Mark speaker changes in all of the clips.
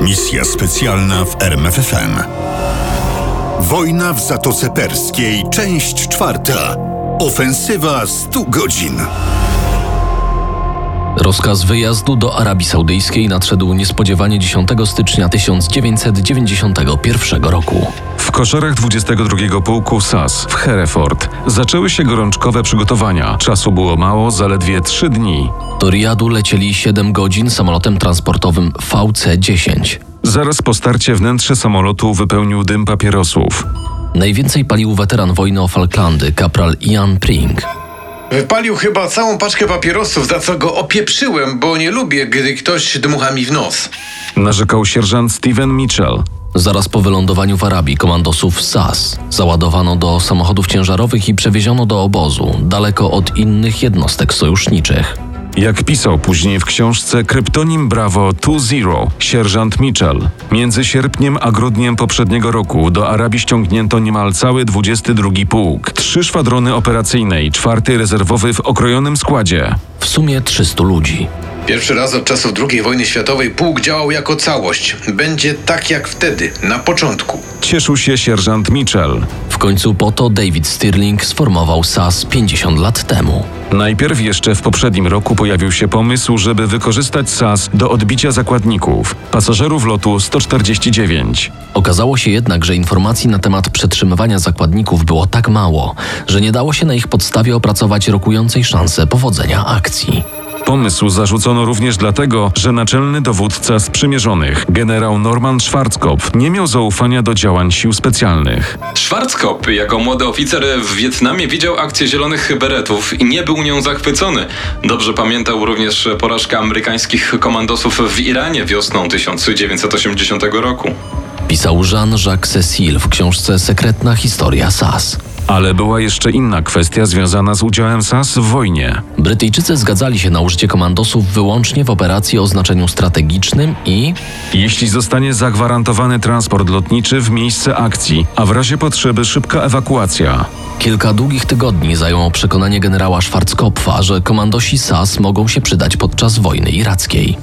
Speaker 1: Misja specjalna w RMFFM. Wojna w Zatoce Perskiej, część czwarta. Ofensywa 100 godzin.
Speaker 2: Rozkaz wyjazdu do Arabii Saudyjskiej nadszedł niespodziewanie 10 stycznia 1991 roku.
Speaker 3: W koszarach 22 Pułku SAS w Hereford zaczęły się gorączkowe przygotowania. Czasu było mało, zaledwie 3 dni.
Speaker 2: Do Riyadu lecieli 7 godzin samolotem transportowym VC-10.
Speaker 3: Zaraz po starcie wnętrze samolotu wypełnił dym papierosów.
Speaker 2: Najwięcej palił weteran wojny o Falklandy, kapral Ian Pring.
Speaker 4: Wypalił chyba całą paczkę papierosów, za co go opieprzyłem, bo nie lubię, gdy ktoś dmucha mi w nos.
Speaker 3: Narzekał sierżant Steven Mitchell.
Speaker 2: Zaraz po wylądowaniu w Arabii komandosów SAS załadowano do samochodów ciężarowych i przewieziono do obozu, daleko od innych jednostek sojuszniczych.
Speaker 3: Jak pisał później w książce kryptonim Bravo 2.0 sierżant Mitchell, między sierpniem a grudniem poprzedniego roku do Arabii ściągnięto niemal cały 22 Pułk, trzy szwadrony operacyjne i czwarty rezerwowy w okrojonym składzie.
Speaker 2: W sumie 300 ludzi.
Speaker 4: Pierwszy raz od czasów II wojny światowej pułk działał jako całość. Będzie tak jak wtedy, na początku.
Speaker 3: Cieszył się sierżant Mitchell.
Speaker 2: W końcu po to David Stirling sformował SAS 50 lat temu.
Speaker 3: Najpierw jeszcze w poprzednim roku pojawił się pomysł, żeby wykorzystać SAS do odbicia zakładników, pasażerów lotu 149.
Speaker 2: Okazało się jednak, że informacji na temat przetrzymywania zakładników było tak mało, że nie dało się na ich podstawie opracować rokującej szansę powodzenia akcji.
Speaker 3: Pomysł zarzucono również dlatego, że naczelny dowódca sprzymierzonych, generał Norman Schwarzkopf, nie miał zaufania do działań sił specjalnych.
Speaker 5: Schwarzkopf jako młody oficer w Wietnamie widział akcję Zielonych Beretów i nie był nią zachwycony. Dobrze pamiętał również porażkę amerykańskich komandosów w Iranie wiosną 1980 roku.
Speaker 2: Pisał Jean-Jacques Cecil w książce Sekretna historia SAS.
Speaker 3: Ale była jeszcze inna kwestia związana z udziałem SAS w wojnie.
Speaker 2: Brytyjczycy zgadzali się na użycie komandosów wyłącznie w operacji o znaczeniu strategicznym i
Speaker 3: Jeśli zostanie zagwarantowany transport lotniczy w miejsce akcji, a w razie potrzeby szybka ewakuacja.
Speaker 2: kilka długich tygodni zajęło przekonanie generała Schwarzkopfa, że komandosi SAS mogą się przydać podczas wojny irackiej.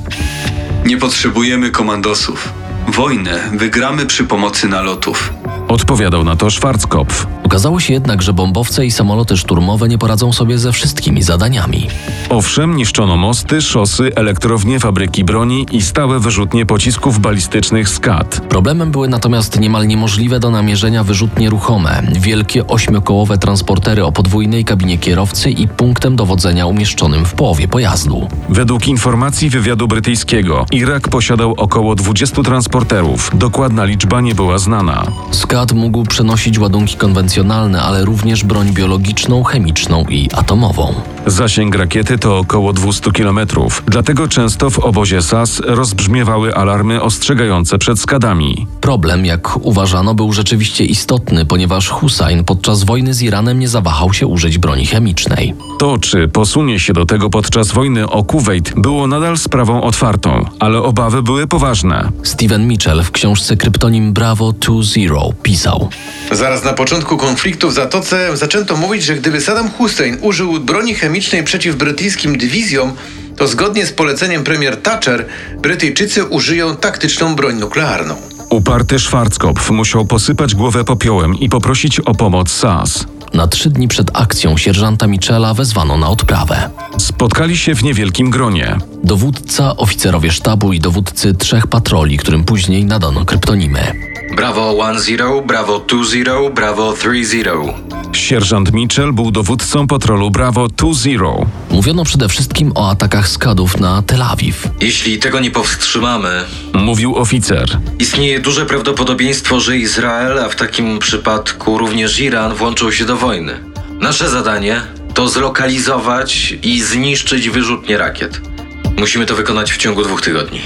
Speaker 6: Nie potrzebujemy komandosów. Wojnę wygramy przy pomocy nalotów.
Speaker 3: Odpowiadał na to Schwarzkopf.
Speaker 2: Okazało się jednak, że bombowce i samoloty szturmowe nie poradzą sobie ze wszystkimi zadaniami.
Speaker 3: Owszem, niszczono mosty, szosy, elektrownie, fabryki broni i stałe wyrzutnie pocisków balistycznych SCAD.
Speaker 2: Problemem były natomiast niemal niemożliwe do namierzenia wyrzutnie ruchome, wielkie ośmiokołowe transportery o podwójnej kabinie kierowcy i punktem dowodzenia umieszczonym w połowie pojazdu.
Speaker 3: Według informacji wywiadu brytyjskiego, Irak posiadał około 20 transporterów. Dokładna liczba nie była znana.
Speaker 2: SCAD mógł przenosić ładunki konwencjonalne, ale również broń biologiczną, chemiczną i atomową.
Speaker 3: Zasięg rakiety to około 200 km, dlatego często w obozie SAS rozbrzmiewały alarmy ostrzegające przed skadami.
Speaker 2: Problem, jak uważano, był rzeczywiście istotny, ponieważ Hussein podczas wojny z Iranem nie zawahał się użyć broni chemicznej.
Speaker 3: To, czy posunie się do tego podczas wojny o Kuwejt, było nadal sprawą otwartą, ale obawy były poważne.
Speaker 2: Steven Mitchell w książce kryptonim Bravo 2.0 pisał:
Speaker 4: Zaraz na początku konfliktu w Zatoce zaczęto mówić, że gdyby Saddam Hussein użył broni chemicznej przeciw brytyjskim dywizjom, to zgodnie z poleceniem premier Thatcher, Brytyjczycy użyją taktyczną broń nuklearną.
Speaker 3: Uparty Schwarzkopf musiał posypać głowę popiołem i poprosić o pomoc SAS.
Speaker 2: Na trzy dni przed akcją sierżanta Michela wezwano na odprawę.
Speaker 3: Spotkali się w niewielkim gronie.
Speaker 2: Dowódca, oficerowie sztabu i dowódcy trzech patroli, którym później nadano kryptonimy.
Speaker 6: Bravo 1-0, Bravo 2-0, Bravo 3-0.
Speaker 3: Sierżant Mitchell był dowódcą patrolu Bravo 2-0.
Speaker 2: Mówiono przede wszystkim o atakach skadów na Tel Awiw.
Speaker 6: Jeśli tego nie powstrzymamy,
Speaker 3: Mówił oficer.
Speaker 6: istnieje duże prawdopodobieństwo, że Izrael, a w takim przypadku również Iran, włączą się do wojny. Nasze zadanie to zlokalizować i zniszczyć wyrzutnie rakiet. Musimy to wykonać w ciągu dwóch tygodni.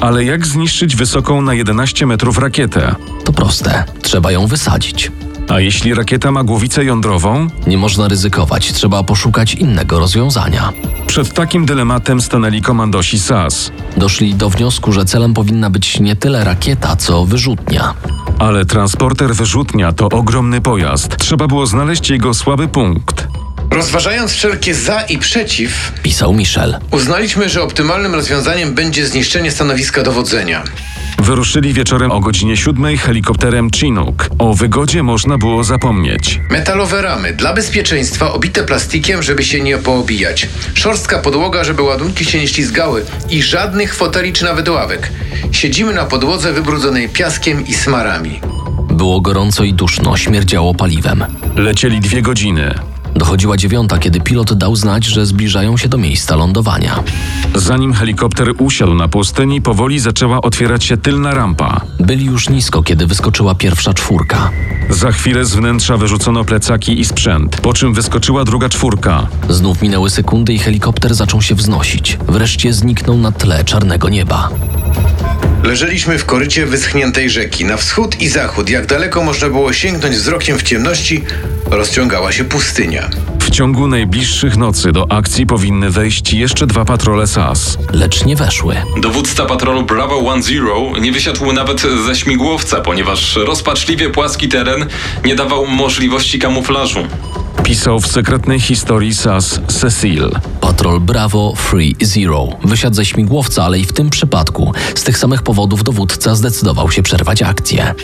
Speaker 3: Ale jak zniszczyć wysoką na 11 metrów rakietę?
Speaker 2: To proste, trzeba ją wysadzić.
Speaker 3: A jeśli rakieta ma głowicę jądrową?
Speaker 2: Nie można ryzykować, trzeba poszukać innego rozwiązania.
Speaker 3: Przed takim dylematem stanęli komandosi SAS.
Speaker 2: Doszli do wniosku, że celem powinna być nie tyle rakieta, co wyrzutnia.
Speaker 3: Ale transporter wyrzutnia to ogromny pojazd. Trzeba było znaleźć jego słaby punkt.
Speaker 4: Rozważając wszelkie za i przeciw,
Speaker 2: pisał Michel.
Speaker 4: uznaliśmy, że optymalnym rozwiązaniem będzie zniszczenie stanowiska dowodzenia.
Speaker 3: Wyruszyli wieczorem o godzinie 7 helikopterem Chinook. O wygodzie można było zapomnieć.
Speaker 4: Metalowe ramy dla bezpieczeństwa obite plastikiem, żeby się nie poobijać. Szorstka podłoga, żeby ładunki się nie ślizgały i żadnych foteli czy nawet ławek. Siedzimy na podłodze wybrudzonej piaskiem i smarami.
Speaker 2: Było gorąco i duszno, śmierdziało paliwem.
Speaker 3: Lecieli dwie godziny.
Speaker 2: Dochodziła dziewiąta, kiedy pilot dał znać, że zbliżają się do miejsca lądowania.
Speaker 3: Zanim helikopter usiadł na pustyni, powoli zaczęła otwierać się tylna rampa.
Speaker 2: Byli już nisko, kiedy wyskoczyła pierwsza czwórka.
Speaker 3: Za chwilę z wnętrza wyrzucono plecaki i sprzęt, po czym wyskoczyła druga czwórka.
Speaker 2: Znów minęły sekundy i helikopter zaczął się wznosić. Wreszcie zniknął na tle czarnego nieba.
Speaker 4: Leżeliśmy w korycie wyschniętej rzeki. Na wschód i zachód, jak daleko można było sięgnąć wzrokiem w ciemności, rozciągała się pustynia.
Speaker 3: W ciągu najbliższych nocy do akcji powinny wejść jeszcze dwa patrole SAS.
Speaker 2: Lecz nie weszły.
Speaker 5: Dowódca patrolu Bravo 1-0 nie wysiadł nawet ze śmigłowca, ponieważ rozpaczliwie płaski teren nie dawał możliwości kamuflażu.
Speaker 3: Pisał w sekretnej historii SAS Cecil.
Speaker 2: Patrol Bravo Free Zero wysiadł ze śmigłowca, ale i w tym przypadku z tych samych powodów dowódca zdecydował się przerwać akcję.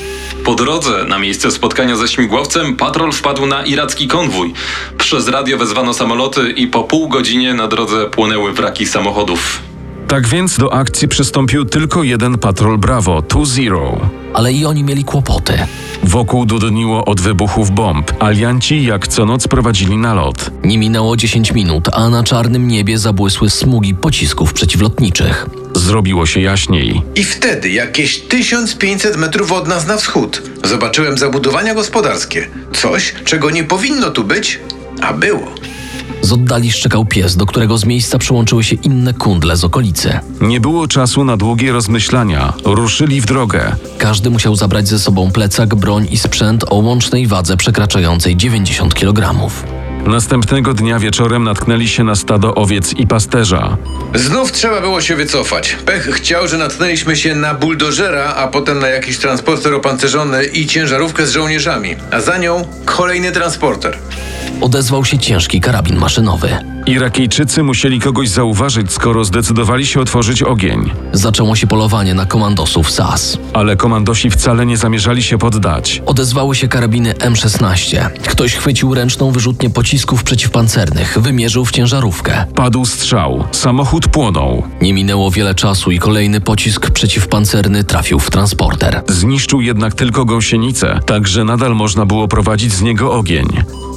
Speaker 5: Po drodze na miejsce spotkania ze śmigłowcem patrol wpadł na iracki konwój. Przez radio wezwano samoloty i po pół godzinie na drodze płonęły wraki samochodów.
Speaker 3: Tak więc do akcji przystąpił tylko jeden patrol Bravo, Two Zero.
Speaker 2: Ale i oni mieli kłopoty.
Speaker 3: Wokół dudniło od wybuchów bomb. Alianci jak co noc prowadzili nalot.
Speaker 2: Nie minęło 10 minut, a na czarnym niebie zabłysły smugi pocisków przeciwlotniczych.
Speaker 3: Zrobiło się jaśniej.
Speaker 4: I wtedy, jakieś 1500 metrów od nas na wschód, zobaczyłem zabudowania gospodarskie. Coś, czego nie powinno tu być, a było.
Speaker 2: Z oddali szczekał pies, do którego z miejsca przyłączyły się inne kundle z okolicy.
Speaker 3: Nie było czasu na długie rozmyślania. Ruszyli w drogę.
Speaker 2: Każdy musiał zabrać ze sobą plecak, broń i sprzęt o łącznej wadze przekraczającej 90 kg.
Speaker 3: Następnego dnia wieczorem natknęli się na stado owiec i pasterza.
Speaker 4: Znów trzeba było się wycofać. Pech chciał, że natknęliśmy się na buldożera, a potem na jakiś transporter opancerzony i ciężarówkę z żołnierzami, a za nią kolejny transporter.
Speaker 2: Odezwał się ciężki karabin maszynowy.
Speaker 3: Irakijczycy musieli kogoś zauważyć, skoro zdecydowali się otworzyć ogień.
Speaker 2: Zaczęło się polowanie na komandosów SAS.
Speaker 3: Ale komandosi wcale nie zamierzali się poddać.
Speaker 2: Odezwały się karabiny M16. Ktoś chwycił ręczną wyrzutnię pocisków przeciwpancernych, wymierzył w ciężarówkę.
Speaker 3: Padł strzał. Samochód płonął.
Speaker 2: Nie minęło wiele czasu i kolejny pocisk przeciwpancerny trafił w transporter.
Speaker 3: Zniszczył jednak tylko gąsienicę, tak że nadal można było prowadzić z niego ogień.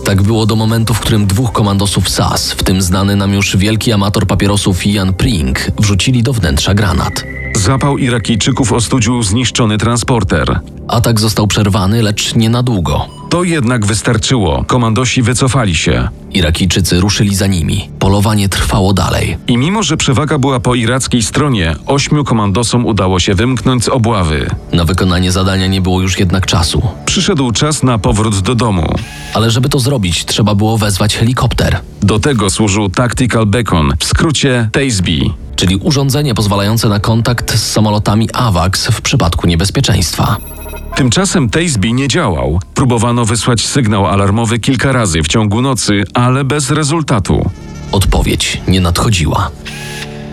Speaker 2: Tak było do momentu, w którym dwóch komandosów SAS, w tym znany nam już wielki amator papierosów Jan Pring, wrzucili do wnętrza granat.
Speaker 3: Zapał Irakijczyków ostudził zniszczony transporter.
Speaker 2: Atak został przerwany, lecz nie na długo.
Speaker 3: To jednak wystarczyło. Komandosi wycofali się.
Speaker 2: Irakijczycy ruszyli za nimi. Polowanie trwało dalej.
Speaker 3: I mimo, że przewaga była po irackiej stronie, ośmiu komandosom udało się wymknąć z obławy.
Speaker 2: Na wykonanie zadania nie było już jednak czasu.
Speaker 3: Przyszedł czas na powrót do domu.
Speaker 2: Ale żeby to zrobić, trzeba było wezwać helikopter,
Speaker 3: Do tego służył Tactical Beacon, w skrócie TASB.
Speaker 2: czyli urządzenie pozwalające na kontakt z samolotami AWACS w przypadku niebezpieczeństwa.
Speaker 3: Tymczasem TASB nie działał. Próbowano wysłać sygnał alarmowy kilka razy w ciągu nocy, ale bez rezultatu.
Speaker 2: Odpowiedź nie nadchodziła.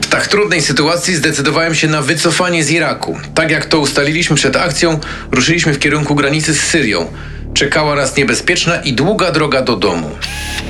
Speaker 4: W tak trudnej sytuacji zdecydowałem się na wycofanie z Iraku. Tak jak to ustaliliśmy przed akcją, ruszyliśmy w kierunku granicy z Syrią. Czekała nas niebezpieczna i długa droga do domu.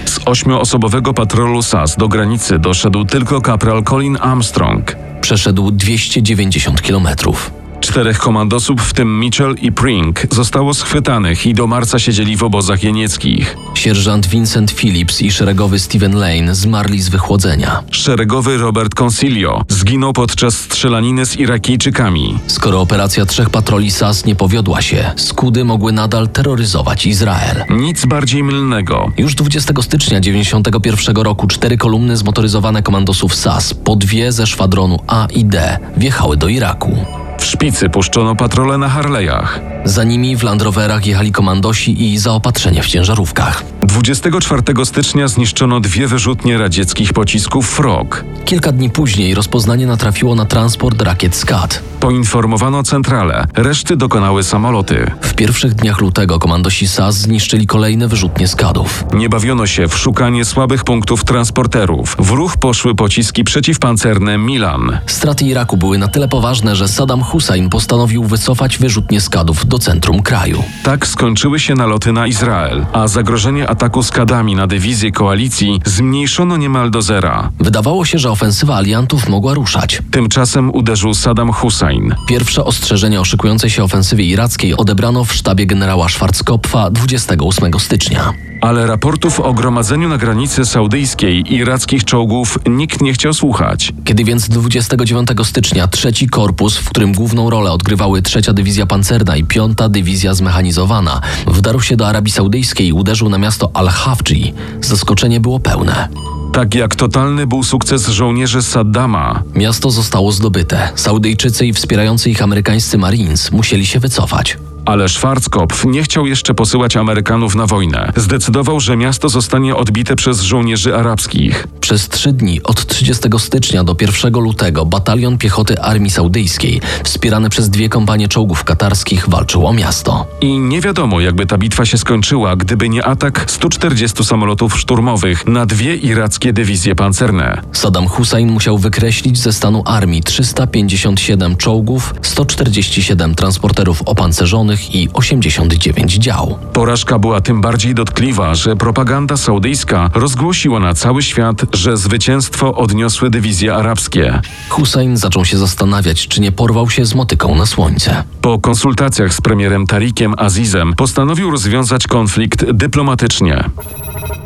Speaker 3: Z ośmioosobowego patrolu SAS do granicy doszedł tylko kapral Colin Armstrong.
Speaker 2: Przeszedł 290 kilometrów.
Speaker 3: Czterech komandosów, w tym Mitchell i Pring, zostało schwytanych i do marca siedzieli w obozach jenieckich.
Speaker 2: Sierżant Vincent Phillips i szeregowy Steven Lane zmarli z wychłodzenia.
Speaker 3: Szeregowy Robert Consilio zginął podczas strzelaniny z Irakijczykami.
Speaker 2: Skoro operacja trzech patroli SAS nie powiodła się, skudy mogły nadal terroryzować Izrael.
Speaker 3: Nic bardziej mylnego.
Speaker 2: Już 20 stycznia 1991 roku cztery kolumny zmotoryzowane komandosów SAS, po dwie ze szwadronu A i D, wjechały do Iraku.
Speaker 3: W szpicy puszczono patrole na Harley'ach.
Speaker 2: Za nimi w Land Roverach jechali komandosi i zaopatrzenie w ciężarówkach.
Speaker 3: 24 stycznia zniszczono dwie wyrzutnie radzieckich pocisków Frog.
Speaker 2: Kilka dni później rozpoznanie natrafiło na transport rakiet SCAD.
Speaker 3: Poinformowano centralę, reszty dokonały samoloty.
Speaker 2: W pierwszych dniach lutego komandosi SAS zniszczyli kolejne wyrzutnie SCADów.
Speaker 3: Nie bawiono się w szukanie słabych punktów transporterów. W ruch poszły pociski przeciwpancerne Milan.
Speaker 2: Straty Iraku były na tyle poważne, że Saddam Hussein postanowił wycofać wyrzutnie SCADów do centrum kraju.
Speaker 3: Tak skończyły się naloty na Izrael, a zagrożenie ataku skadami na dywizję koalicji zmniejszono niemal do zera.
Speaker 2: Wydawało się, że ofensywa aliantów mogła ruszać.
Speaker 3: Tymczasem uderzył Saddam Hussein.
Speaker 2: Pierwsze ostrzeżenia o szykującej się ofensywie irackiej odebrano w sztabie generała Schwarzkopfa 28 stycznia.
Speaker 3: Ale raportów o gromadzeniu na granicy saudyjskiej irackich czołgów nikt nie chciał słuchać.
Speaker 2: Kiedy więc 29 stycznia trzeci korpus, w którym główną rolę odgrywały trzecia dywizja pancerna i piąta dywizja zmechanizowana, wdarł się do Arabii Saudyjskiej i uderzył na miasto Al-Hafji, zaskoczenie było pełne.
Speaker 3: Tak jak totalny był sukces żołnierzy Saddama,
Speaker 2: Miasto zostało zdobyte. Saudyjczycy i wspierający ich amerykańscy Marines musieli się wycofać.
Speaker 3: ale Schwarzkopf nie chciał jeszcze posyłać Amerykanów na wojnę. Zdecydował, że miasto zostanie odbite przez żołnierzy arabskich.
Speaker 2: Przez trzy dni, od 30 stycznia do 1 lutego, batalion piechoty Armii Saudyjskiej, wspierany przez dwie kompanie czołgów katarskich, walczył o miasto.
Speaker 3: I nie wiadomo, jakby ta bitwa się skończyła, gdyby nie atak 140 samolotów szturmowych na dwie irackie dywizje pancerne.
Speaker 2: Saddam Hussein musiał wykreślić ze stanu armii 357 czołgów, 147 transporterów opancerzonych i 89 dział.
Speaker 3: Porażka była tym bardziej dotkliwa, że propaganda saudyjska rozgłosiła na cały świat, że zwycięstwo odniosły dywizje arabskie.
Speaker 2: Hussein zaczął się zastanawiać, czy nie porwał się z motyką na słońce.
Speaker 3: Po konsultacjach z premierem Tarikiem Azizem postanowił rozwiązać konflikt dyplomatycznie.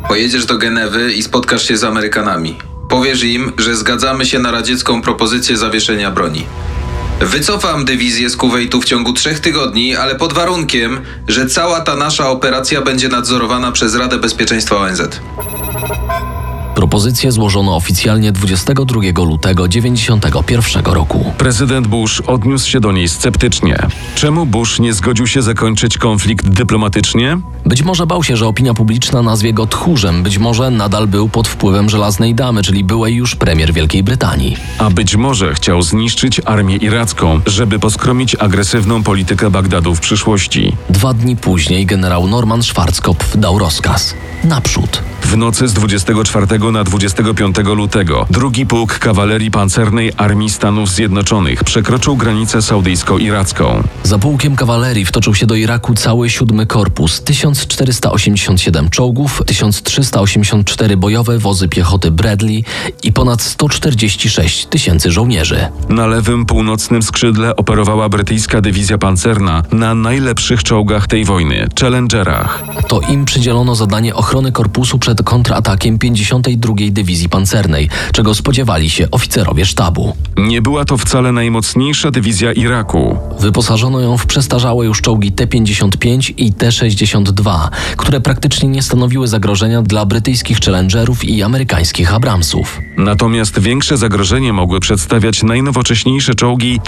Speaker 5: Pojedziesz do Genewy i spotkasz się z Amerykanami. Powiesz im, że zgadzamy się na radziecką propozycję zawieszenia broni. Wycofam dywizję z Kuwejtu w ciągu trzech tygodni, ale pod warunkiem, że cała ta nasza operacja będzie nadzorowana przez Radę Bezpieczeństwa ONZ.
Speaker 2: Propozycję złożono oficjalnie 22 lutego 1991 roku.
Speaker 3: Prezydent Bush odniósł się do niej sceptycznie. Czemu Bush nie zgodził się zakończyć konflikt dyplomatycznie?
Speaker 2: Być może bał się, że opinia publiczna nazwie go tchórzem, być może nadal był pod wpływem żelaznej damy, czyli byłej już premier Wielkiej Brytanii.
Speaker 3: A być może chciał zniszczyć armię iracką, żeby poskromić agresywną politykę Bagdadu w przyszłości.
Speaker 2: Dwa dni później generał Norman Schwarzkopf dał rozkaz. Naprzód.
Speaker 3: W nocy z 24 na 25 lutego drugi pułk kawalerii pancernej Armii Stanów Zjednoczonych przekroczył granicę saudyjsko-iracką.
Speaker 2: Za pułkiem kawalerii wtoczył się do Iraku cały siódmy korpus, 1487 czołgów, 1384 bojowe wozy piechoty Bradley i ponad 146 tysięcy żołnierzy.
Speaker 3: Na lewym północnym skrzydle operowała brytyjska dywizja pancerna na najlepszych czołgach tej wojny Challengerach.
Speaker 2: To im przydzielono zadanie ochrony korpusu przed kontratakiem 52 Dywizji Pancernej, czego spodziewali się oficerowie sztabu.
Speaker 3: Nie była to wcale najmocniejsza dywizja Iraku.
Speaker 2: Wyposażono ją w przestarzałe już czołgi T-55 i T-62, które praktycznie nie stanowiły zagrożenia dla brytyjskich Challengerów i amerykańskich Abramsów.
Speaker 3: Natomiast większe zagrożenie mogły przedstawiać najnowocześniejsze czołgi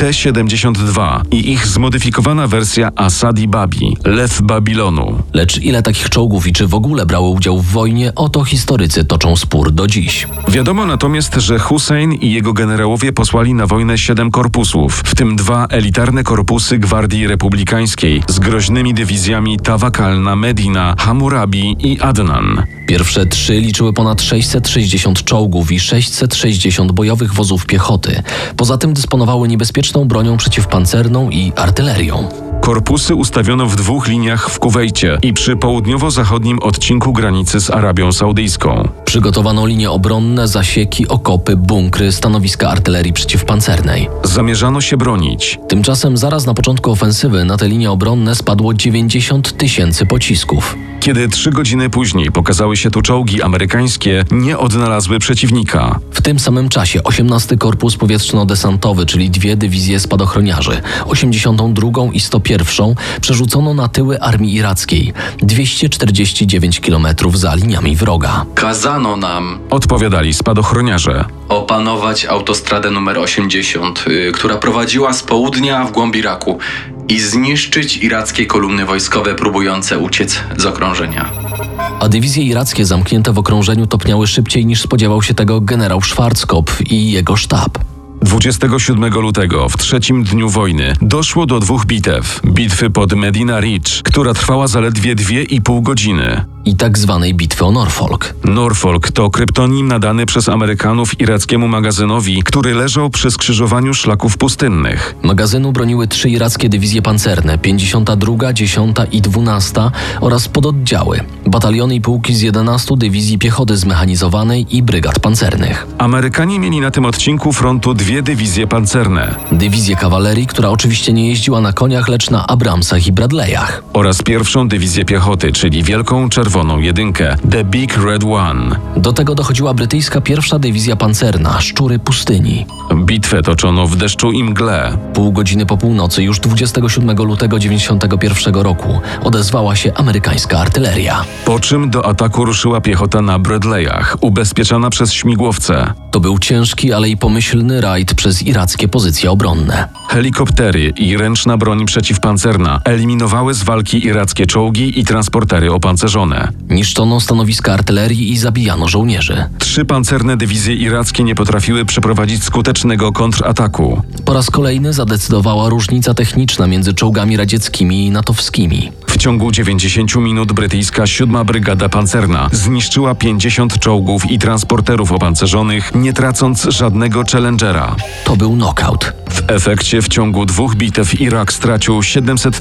Speaker 3: T-72 i ich zmodyfikowana wersja Asadi Babi, Lew Babilonu.
Speaker 2: Lecz ile takich czołgów i czy w ogóle brało udział w wojnie, oto historycy toczą spór do dziś.
Speaker 3: Wiadomo natomiast, że Hussein i jego generałowie posłali na wojnę siedem korpusów, w tym dwa elitarne korpusy Gwardii Republikańskiej z groźnymi dywizjami Tawakalna, Medina, Hammurabi i Adnan.
Speaker 2: Pierwsze trzy liczyły ponad 660 czołgów i 660 bojowych wozów piechoty. Poza tym dysponowały niebezpieczną bronią przeciwpancerną i artylerią.
Speaker 3: Korpusy ustawiono w dwóch liniach w Kuwejcie i przy południowo-zachodnim odcinku granicy z Arabią Saudyjską.
Speaker 2: Przygotowano linie obronne, zasieki, okopy, bunkry, stanowiska artylerii przeciwpancernej.
Speaker 3: Zamierzano się bronić.
Speaker 2: Tymczasem zaraz na początku ofensywy na te linie obronne spadło 90 tysięcy pocisków.
Speaker 3: Kiedy trzy godziny później pokazały się tu czołgi amerykańskie, nie odnalazły przeciwnika.
Speaker 2: W tym samym czasie 18 Korpus Powietrzno-Desantowy, czyli dwie dywizje spadochroniarzy, 82 i 101 przerzucono na tyły armii irackiej, 249 km za liniami wroga.
Speaker 7: Kazano nam
Speaker 3: Odpowiadali spadochroniarze.
Speaker 7: opanować autostradę numer 80, y, która prowadziła z południa w głąb Iraku i zniszczyć irackie kolumny wojskowe próbujące uciec z okrążenia.
Speaker 2: a dywizje irackie zamknięte w okrążeniu topniały szybciej niż spodziewał się tego generał Schwarzkopf i jego sztab.
Speaker 3: 27 lutego, w trzecim dniu wojny, doszło do dwóch bitew. Bitwy pod Medina Ridge, która trwała zaledwie 2,5 godziny.
Speaker 2: I tak zwanej bitwy o Norfolk.
Speaker 3: Norfolk to kryptonim nadany przez Amerykanów irackiemu magazynowi, który leżał przy skrzyżowaniu szlaków pustynnych.
Speaker 2: Magazynu broniły trzy irackie dywizje pancerne 52, 10 i 12 oraz pododdziały, bataliony i pułki z 11 dywizji piechoty zmechanizowanej i brygad pancernych.
Speaker 3: Amerykanie mieli na tym odcinku frontu dwie dywizje pancerne
Speaker 2: Dywizję kawalerii, która oczywiście nie jeździła na koniach, lecz na Abramsach i Bradleyach.
Speaker 3: oraz pierwszą dywizję piechoty, czyli Wielką Czerwoną Jedynkę, The Big Red One.
Speaker 2: Do tego dochodziła brytyjska pierwsza dywizja pancerna Szczury Pustyni.
Speaker 3: Bitwę toczono w deszczu i mgle.
Speaker 2: Pół godziny po północy, już 27 lutego 91 roku, odezwała się amerykańska artyleria.
Speaker 3: Po czym do ataku ruszyła piechota na Bradleyach, ubezpieczana przez śmigłowce.
Speaker 2: To był ciężki, ale i pomyślny rajd przez irackie pozycje obronne.
Speaker 3: Helikoptery i ręczna broń przeciwpancerna eliminowały z walki irackie czołgi i transportery opancerzone.
Speaker 2: Niszczono stanowiska artylerii i zabijano żołnierzy.
Speaker 3: Trzy pancerne dywizje irackie nie potrafiły przeprowadzić skutecznego kontrataku.
Speaker 2: Po raz kolejny zadecydowała różnica techniczna między czołgami radzieckimi i natowskimi.
Speaker 3: W ciągu 90 minut brytyjska 7 Brygada Pancerna zniszczyła 50 czołgów i transporterów opancerzonych, nie tracąc żadnego Challengera.
Speaker 2: To był knockout.
Speaker 3: W efekcie w ciągu dwóch bitew Irak stracił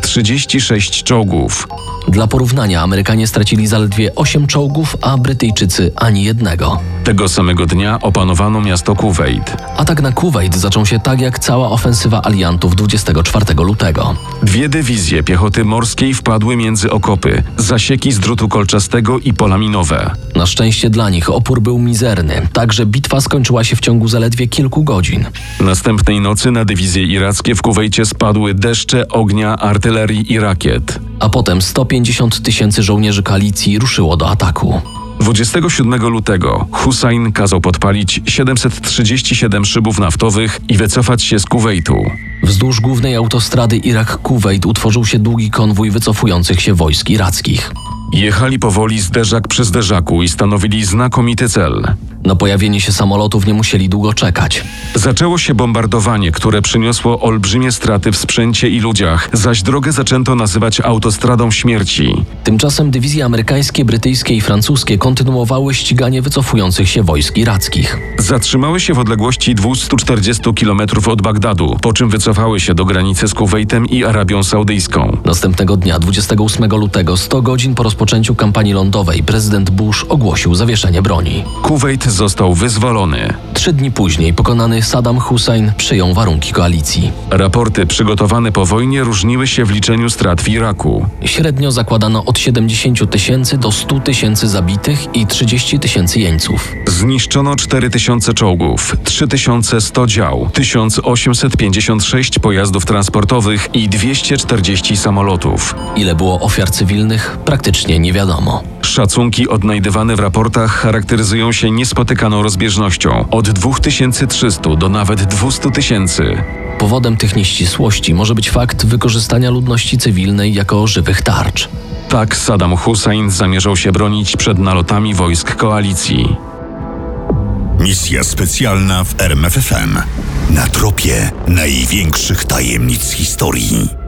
Speaker 3: 736 czołgów.
Speaker 2: Dla porównania Amerykanie stracili zaledwie 8 czołgów, a Brytyjczycy ani jednego.
Speaker 3: Tego samego dnia opanowano miasto Kuwejt.
Speaker 2: Atak na Kuwait zaczął się tak jak cała ofensywa aliantów 24 lutego.
Speaker 3: Dwie dywizje piechoty morskiej wpadły między okopy, zasieki z drutu kolczastego i pola minowe.
Speaker 2: Na szczęście dla nich opór był mizerny, także bitwa skończyła się w ciągu zaledwie kilku godzin.
Speaker 3: Następnej nocy na dywizje irackie w Kuwejcie spadły deszcze ognia, artylerii i rakiet.
Speaker 2: A potem 150 tysięcy żołnierzy koalicji ruszyło do ataku.
Speaker 3: 27 lutego Hussein kazał podpalić 737 szybów naftowych i wycofać się z Kuwejtu.
Speaker 2: Wzdłuż głównej autostrady Irak-Kuwejt utworzył się długi konwój wycofujących się wojsk irackich.
Speaker 3: Jechali powoli zderzak przy zderzaku i stanowili znakomity cel.
Speaker 2: Na pojawienie się samolotów nie musieli długo czekać.
Speaker 3: Zaczęło się bombardowanie, które przyniosło olbrzymie straty w sprzęcie i ludziach, zaś drogę zaczęto nazywać autostradą śmierci.
Speaker 2: Tymczasem dywizje amerykańskie, brytyjskie i francuskie kontynuowały ściganie wycofujących się wojsk irackich.
Speaker 3: Zatrzymały się w odległości 240 km od Bagdadu, po czym wycofały się do granicy z Kuwejtem i Arabią Saudyjską.
Speaker 2: Następnego dnia, 28 lutego, 100 godzin po rozpoczęciu kampanii lądowej, prezydent Bush ogłosił zawieszenie broni.
Speaker 3: Kuwejt został wyzwolony.
Speaker 2: Trzy dni później pokonany Saddam Hussein przyjął warunki koalicji.
Speaker 3: Raporty przygotowane po wojnie różniły się w liczeniu strat w Iraku.
Speaker 2: Średnio zakładano od 70 tysięcy do 100 tysięcy zabitych i 30 tysięcy jeńców.
Speaker 3: Zniszczono 4000 czołgów, 3100 dział, 1856 pojazdów transportowych i 240 samolotów.
Speaker 2: Ile było ofiar cywilnych, praktycznie nie wiadomo.
Speaker 3: Szacunki odnajdywane w raportach charakteryzują się niespotykaną rozbieżnością od 2300 do nawet 200 tysięcy.
Speaker 2: Powodem tych nieścisłości może być fakt wykorzystania ludności cywilnej jako żywych tarcz.
Speaker 3: Tak Saddam Hussein zamierzał się bronić przed nalotami wojsk koalicji.
Speaker 1: Misja specjalna w RMFFM. Na tropie największych tajemnic historii.